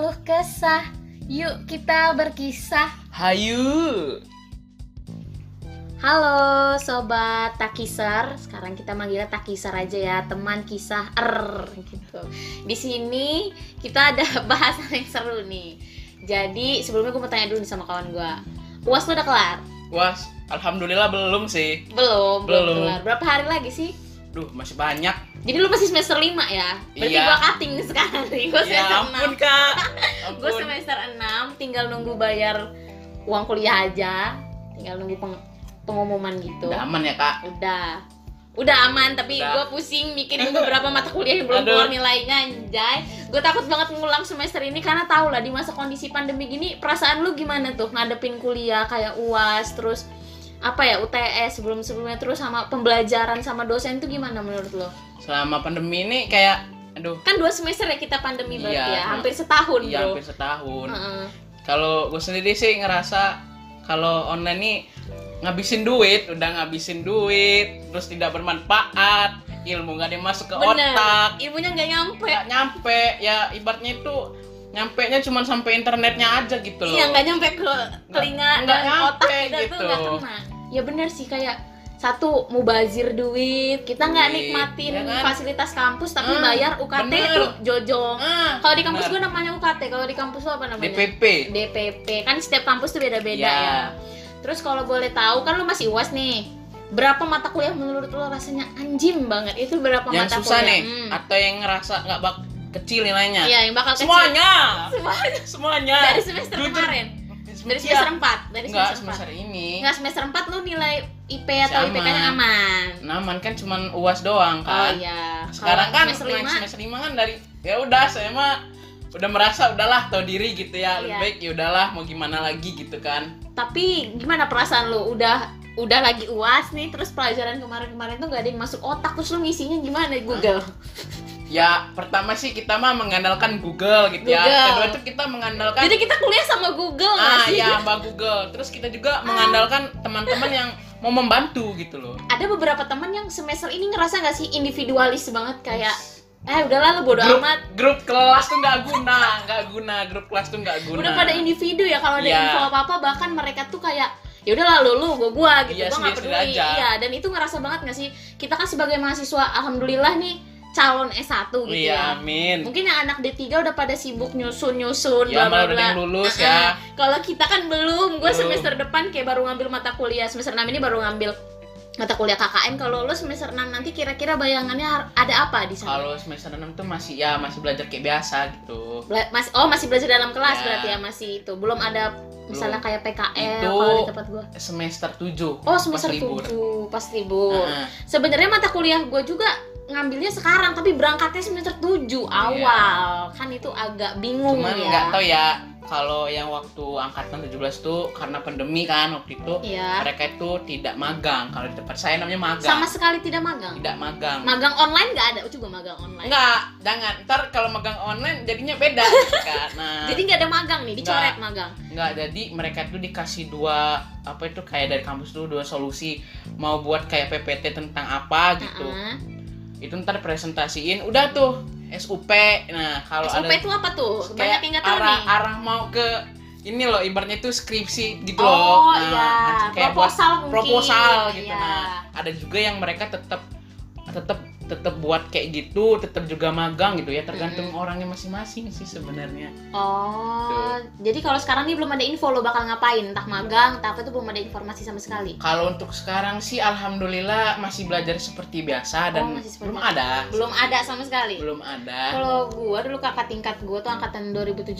resah. Yuk kita berkisah. Hayu. Halo sobat Takisar, sekarang kita manggilnya Takisar aja ya, teman kisah er gitu. Di sini kita ada bahasan yang seru nih. Jadi sebelumnya gue mau tanya dulu nih sama kawan gue. Uas lu udah kelar? Wah, alhamdulillah belum sih. Belum, Belum. kelar. Berapa hari lagi sih? Duh, masih banyak. Jadi lu masih semester 5 ya? Berarti Iya. gue cutting nih sekarang nih, gue ya semester ampun, Kak. 6 Gue Ampun. semester 6, tinggal nunggu bayar uang kuliah aja Tinggal nunggu peng- pengumuman gitu Udah aman ya, Kak? udah udah aman tapi gue Udah. pusing mikirin beberapa mata kuliah yang belum Aduh. keluar nilainya anjay gue takut banget ngulang semester ini karena tau lah di masa kondisi pandemi gini perasaan lu gimana tuh ngadepin kuliah kayak uas terus apa ya UTS sebelum sebelumnya terus sama pembelajaran sama dosen tuh gimana menurut lo Selama pandemi ini kayak aduh, kan dua semester ya kita pandemi berarti Iya. ya hampir setahun iya bro hampir setahun. Heeh. Kalau gue sendiri sih ngerasa kalau online nih ngabisin duit, udah ngabisin duit, terus tidak bermanfaat, ilmu gak ada yang masuk ke bener otak, ilmunya nggak nyampe nggak nyampe ya ibaratnya itu nyampe nya cuma sampai internetnya aja gitu loh Iya nggak nyampe ke telinga nggak dan nyampe otak kita tuh gitu. nggak kena. Ya benar sih kayak satu mubazir duit, kita nggak Duit, nikmatin ya kan? fasilitas kampus tapi Hmm, bayar UKT bener. tuh jojong. Ah, Kalau di kampus benar. gue namanya UKT, kalau di kampus lo apa namanya? DPP DPP. Kan setiap kampus tuh beda-beda Iya. ya. Terus kalau boleh tahu kan lo masih UAS nih. Berapa mata kuliah menurut lo rasanya anjim banget? Itu berapa yang mata susah nih kuliah? Hmm. atau yang ngerasa nggak bak kecil nilainya Iya, yang bakal kecil. semuanya Semuanya. semuanya Dari semester Jujur. kemarin. Dari Iya. semester 4, dari nggak semester 4. semester ini Nggak semester 4 lu nilai IP atau Masih IPK-nya aman. aman. naman kan cuman uas doang Oh kan iya. sekarang Kalau kan semester naik 5 semester lima kan dari ya udah saya mah udah merasa udahlah tau diri gitu ya lebih Iya. baik ya udahlah mau gimana lagi gitu kan tapi gimana perasaan lu? Udah udah lagi UAS nih terus pelajaran kemarin-kemarin tuh nggak ada yang masuk otak terus lu ngisinya gimana di Google? Hmm. ya pertama sih kita mah mengandalkan Google gitu ya Google. kedua tuh kita mengandalkan Jadi kita kuliah sama Google nggak Kan- Ah sih? Ah. ya Mbak Google. Terus kita juga mengandalkan teman-teman yang mau membantu gitu loh. Ada beberapa teman yang semester ini ngerasa nggak sih individualis banget kayak eh udahlah lu bodo Grup, amat. grup kelas tuh nggak guna, nggak guna. Grup kelas tuh nggak guna. Udah pada individu ya kalau ada Iya. info apa-apa bahkan mereka tuh kayak ya udahlah lu lu gua gua gitu Iya, gua nggak sendiri-sendiri peduli aja. iya dan itu ngerasa banget nggak sih kita kan sebagai mahasiswa alhamdulillah nih calon S1 gitu Iya, ya amin. mungkin yang anak D3 udah pada sibuk nyusun nyusun bla bla Ya malah udah ada bla yang lulus Ah, ya. kalau kita kan belum gue Belum. semester depan kayak baru ngambil mata kuliah semester 6 ini baru ngambil mata kuliah KKN kalau lu semester 6 nanti kira-kira bayangannya har- ada apa di sana Kalau semester 6 tuh masih ya masih belajar kayak biasa gitu. Bela- mas- oh masih belajar dalam kelas Ya. berarti ya masih itu belum ada misalnya kayak PKL Itu- kalau di tempat gue Semester 7. Oh semester pas libur. tujuh pas libur. Ah, Sebenarnya mata kuliah gue juga ngambilnya sekarang tapi berangkatnya semester 7 awal. Kan itu agak bingung Iya. Cuman ya. nggak tahu ya kalau yang waktu angkatan 17 tuh karena pandemi kan waktu itu Iya. mereka itu tidak magang. Kalau di tempat saya namanya magang. Sama sekali tidak magang. Tidak magang. Magang online nggak ada, juga magang online. Enggak, jangan. Ntar kalau magang online jadinya beda kan. Nah, Jadi nggak ada magang nih, dicoret magang. enggak jadi mereka tuh dikasih dua apa itu kayak dari kampus tuh dua solusi mau buat kayak PPT tentang apa gitu. Heeh. Itu ntar presentasiin udah tuh SUP. Nah, kalau SUP ada itu apa tuh? Banyak kayak yang nggak tahu arah nih. arah mau ke ini loh ibaratnya tuh skripsi gitu loh. Oh Nah, iya, kayak buat proposal mungkin. proposal gitu Iya. nah ada juga yang mereka tetap tetap tetap buat kayak gitu tetap juga magang gitu ya tergantung orangnya masing-masing sih sebenarnya Gitu. Oh, jadi kalau sekarang nih belum ada info lo bakal ngapain, entah magang, entah apa itu belum ada informasi sama sekali. kalau untuk sekarang sih alhamdulillah masih belajar seperti biasa dan Oh, masih seperti belum ada Belum ada sama sekali. belum ada Kalau gua dulu kakak tingkat gua tuh angkatan 2017,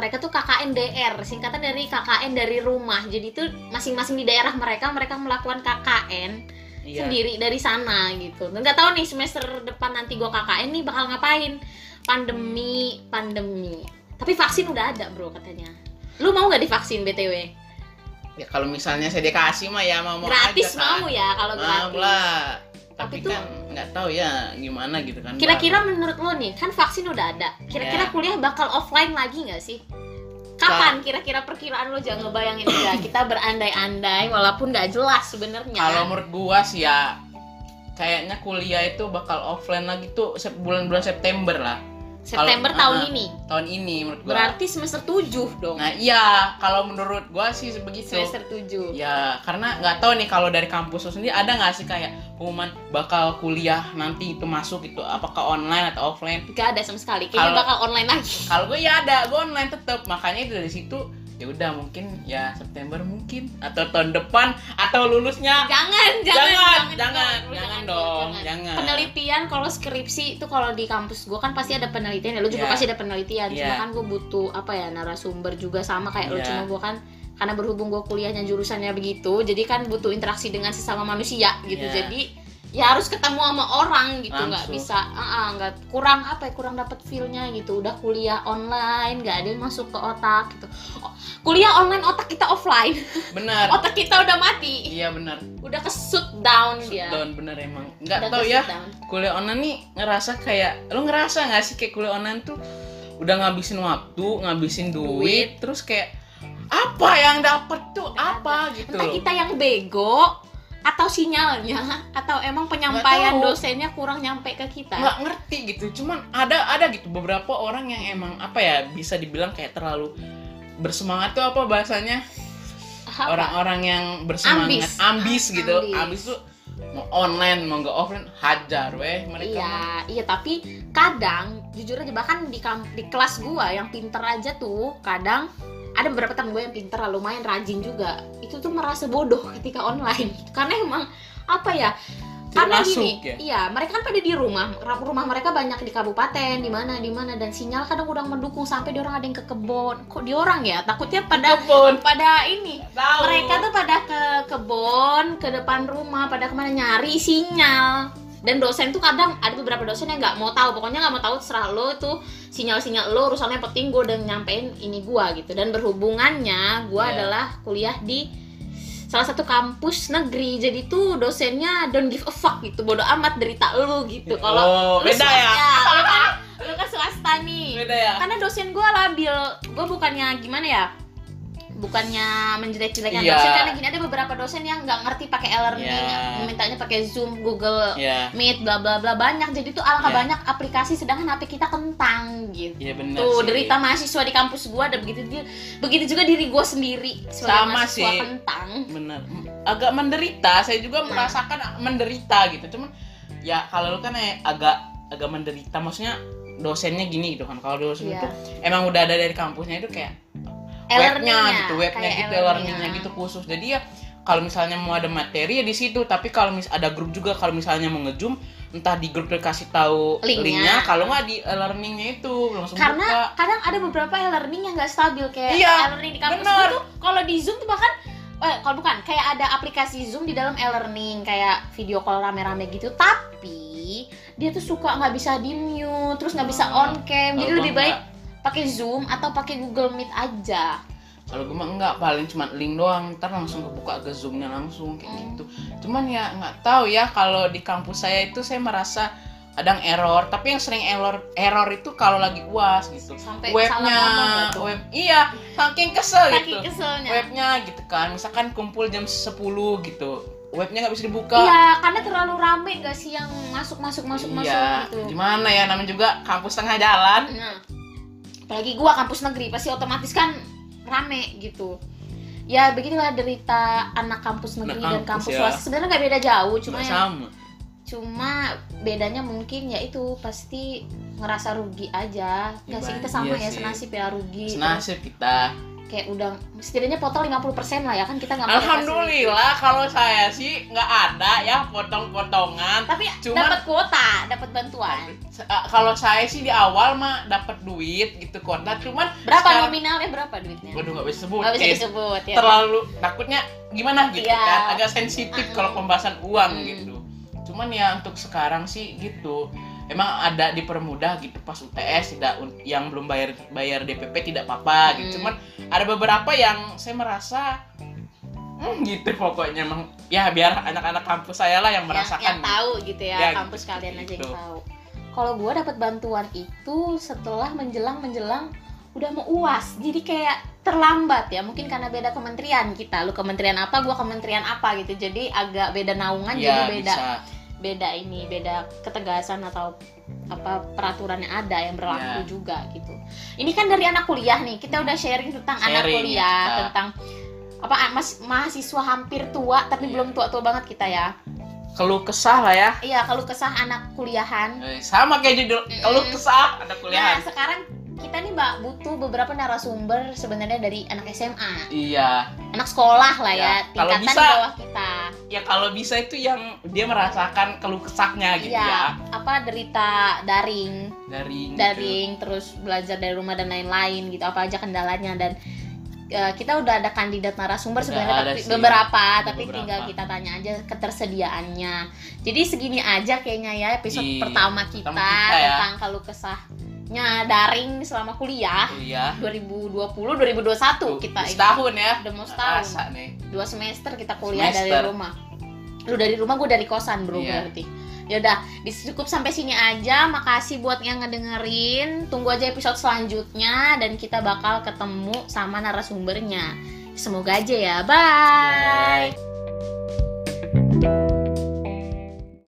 mereka tuh KKN DR, singkatan dari KKN dari rumah. Jadi tuh masing-masing di daerah mereka mereka melakukan KKN Iya. sendiri dari sana gitu. Dan Nggak tahu nih semester depan nanti gua KKN nih bakal ngapain? Pandemi, pandemi. Tapi vaksin udah ada, Bro, katanya. Lu mau nggak divaksin BTW? ya kalau misalnya saya dikasih mah ya mau mau gratis aja, kan. mau ya kalau mau gratis. lah Tapi tapi, tuh- kan nggak tahu ya gimana gitu kan Kira-kira menurut lo nih, kan vaksin udah ada. Kira-kira Ya. kuliah bakal offline lagi nggak sih? Kapan kira-kira perkiraan lo jangan ngebayangin aja. Kita berandai-andai walaupun nggak jelas sebenarnya. Kalau menurut gua sih ya kayaknya kuliah itu bakal offline lagi tuh se- bulan-bulan September lah. September tahun Kalau- ah, ini. tahun ini menurut gua Berarti semester 7 dong. nah iya kalau menurut gua sih begitu semester 7. ya karena nggak tahu nih kalau dari kampus lu sendiri ada nggak sih kayak pengumuman bakal kuliah nanti itu masuk itu apakah online atau offline Gak ada sama sekali. Kayaknya Kalau- bakal online lagi. kalau gue ya ada gue online tetap makanya itu dari situ ya udah mungkin ya September mungkin atau tahun depan atau lulusnya Jangan, jangan, jangan, jangan, dong, jangan dong, jangan. Penelitian kalau skripsi itu kalau di kampus gua kan pasti ada penelitian ya. Lu juga Iya. pasti ada penelitian. Cuma Iya. kan gua butuh apa ya narasumber juga sama kayak lu Iya. cuma gua kan karena berhubung gua kuliahnya jurusannya begitu, jadi kan butuh interaksi dengan sesama manusia gitu. Iya. Jadi ya harus ketemu sama orang gitu nggak Langsung. bisa ah, ah, nggak kurang apa ya kurang dapet feelnya gitu udah kuliah online nggak ada yang masuk ke otak gitu Oh, kuliah online otak kita offline benar otak kita udah mati iya benar udah kesut down dia down benar emang udah nggak tahu ke ya shutdown. kuliah online nih ngerasa kayak lu ngerasa nggak sih kayak kuliah online tuh udah ngabisin waktu ngabisin duit, terus kayak apa yang dapet tuh apa gitu entah loh. kita yang bego atau sinyalnya atau emang penyampaian Nggak tahu. dosennya kurang nyampe ke kita nggak ngerti gitu cuman ada ada gitu beberapa orang yang emang apa ya bisa dibilang kayak terlalu bersemangat tuh apa bahasanya Apa? orang-orang yang bersemangat Ambis. Ah, ambis, gitu Ambis. ambis tuh mau online mau nggak offline hajar weh mereka iya iya tapi kadang jujur aja bahkan di kam- di kelas gua yang pinter aja tuh kadang ada beberapa temen gue yang pinter lah, lumayan rajin juga itu tuh merasa bodoh ketika online karena emang apa ya karena Masuk, gini, ya? iya mereka kan pada di rumah, Ra- rumah mereka banyak di kabupaten, di mana, di mana dan sinyal kadang kurang mendukung sampai diorang ada yang ke kebon, kok diorang ya takutnya pada Kebun. pada ini Tahu. mereka tuh pada ke kebon, ke depan rumah, pada kemana nyari sinyal. Dan dosen tuh kadang ada beberapa dosen yang nggak mau tahu, pokoknya nggak mau tahu terserah lo tuh sinyal-sinyal lo, urusannya yang penting gue udah nyampein ini gua gitu. Dan berhubungannya gua Iya. adalah kuliah di salah satu kampus negeri, jadi tuh dosennya don't give a fuck gitu, bodo amat derita lo gitu. Kalau oh, lu beda ya swasta, lu kan, lu kan swasta nih beda ya karena dosen gue labil gue bukannya gimana ya bukannya menjelek-jelekan Iya. dosen karena gini ada beberapa dosen yang nggak ngerti pakai e-learning Iya. mintanya pakai zoom google ya meet bla bla bla banyak jadi tuh alangkah Iya. banyak aplikasi sedangkan hp kita kentang gitu iya benar Tuh sih. derita mahasiswa di kampus gua ada begitu dia, begitu juga diri gua sendiri sebagai Sama mahasiswa sih. kentang. benar agak menderita saya juga Nah. merasakan menderita gitu cuman ya kalau lu kan eh, agak agak menderita maksudnya dosennya gini gitu kan kalau dosen Iya. itu emang udah ada dari kampusnya itu kayak webnya E-learningnya, gitu webnya kayak gitu e-learningnya. learningnya gitu khusus jadi ya kalau misalnya mau ada materi ya di situ tapi kalau mis ada grup juga kalau misalnya mau ngejum entah di grup dikasih tahu Linknya. linknya kalau nggak di eh, learningnya itu langsung buka karena kadang ada beberapa e-learning yang nggak stabil kayak Iya, e-learning di kampus bener. gue tuh kalau di zoom tuh bahkan eh kalau bukan kayak ada aplikasi zoom di dalam e-learning kayak video call rame-rame gitu tapi dia tuh suka nggak bisa di mute terus nggak bisa Ah, on cam jadi Kalau lebih gua baik nggak. pakai zoom atau pakai google meet aja kalau gue mah enggak paling cuma link doang ntar langsung kebuka ke zoomnya langsung kayak Hmm. gitu cuman ya nggak tahu ya kalau di kampus saya itu saya merasa kadang error tapi yang sering error error itu kalau lagi uas gitu sampai salah webnya ngomong nggak tuh? web iya saking kesel Saking gitu keselnya webnya gitu kan misalkan kumpul jam 10 gitu webnya nggak bisa dibuka Iya, karena terlalu rame nggak sih yang masuk masuk masuk Iya, masuk gitu. gimana ya namanya juga kampus tengah jalan Nah, apalagi gua kampus negeri pasti otomatis kan rame gitu. Ya begitulah derita anak kampus negeri Anak dan kampus, kampus ya. swasta. Sebenarnya nggak beda jauh, cuma nggak yang- sama cuma bedanya mungkin ya itu pasti ngerasa rugi aja. Nggak sih Iya, kita sama iya ya sih. senasib ya rugi. senasib kita Kayak udah setidaknya potong 50% lah ya kan kita nggak pakai Alhamdulillah kalau saya sih nggak ada ya potong-potongan fasilitas. Tapi Cuman- dapat kuota, dapat bantuan. Se- eh, kalau saya sih di awal mah dapat duit gitu kota cuman Nah. Berapa sekarang- nominalnya berapa duitnya? waduh nggak bisa sebutin Nggak bisa disebut ya. terlalu takutnya gimana gitu Iya. kan agak sensitif Mm-mm. kalau pembahasan uang Mm. gitu cuman ya untuk sekarang sih gitu emang ada dipermudah gitu pas UTS tidak un- yang belum bayar bayar DPP tidak apa-apa Mm. gitu cuman ada beberapa yang saya merasa hmm, gitu pokoknya emang ya biar anak-anak kampus saya lah yang merasakan yang, yang tahu gitu ya, Ya, kampus gitu, kalian aja yang gitu. tahu kalau gue dapat bantuan itu setelah menjelang menjelang udah mau uas jadi kayak terlambat ya mungkin karena beda kementerian kita lu kementerian apa gua kementerian apa gitu kan jadi agak beda naungan jadi ya beda bisa beda ini beda ketegasan atau apa peraturan yang ada yang berlaku Iya. juga gitu. Ini kan dari anak kuliah nih. Kita udah sharing tentang anak Sharing, kuliah, ya, kita. tentang apa mas, mahasiswa hampir tua tapi Iya. belum tua-tua banget kita ya. Keluh kesah lah ya. Iya, kalau kesah anak kuliahan. Eh, Sama kayak judul Mm-mm. keluh kesah ada Nah, kuliahan. sekarang kita nih Mbak butuh beberapa narasumber sebenarnya dari anak SMA, Iya. anak sekolah lah ya, Ya, kalau tingkatan di bisa, bawah kita. Ya kalau bisa itu yang dia merasakan keluh kesahnya gitu Iya, ya. Gitu. apa derita daring, Dari daring terus belajar dari rumah dan lain-lain gitu, apa aja kendalanya dan eh, kita udah ada kandidat narasumber Udah sebenarnya ada tapi sih. beberapa, Ada tapi beberapa. tinggal kita tanya aja ketersediaannya. Jadi segini aja kayaknya ya episode Iya, pertama kita, pertama kita ya. tentang kalau kesahnya daring selama kuliah Kuliah. 2020 2021 kita ini. ya. Setahun ya. udah mau setahun Rasa nih. dua semester kita kuliah dari Semester. rumah lu dari rumah gue dari kosan bro Iya. berarti ya udah dis- cukup sampai sini aja makasih buat yang ngedengerin tunggu aja episode selanjutnya dan kita bakal ketemu sama narasumbernya semoga aja ya bye.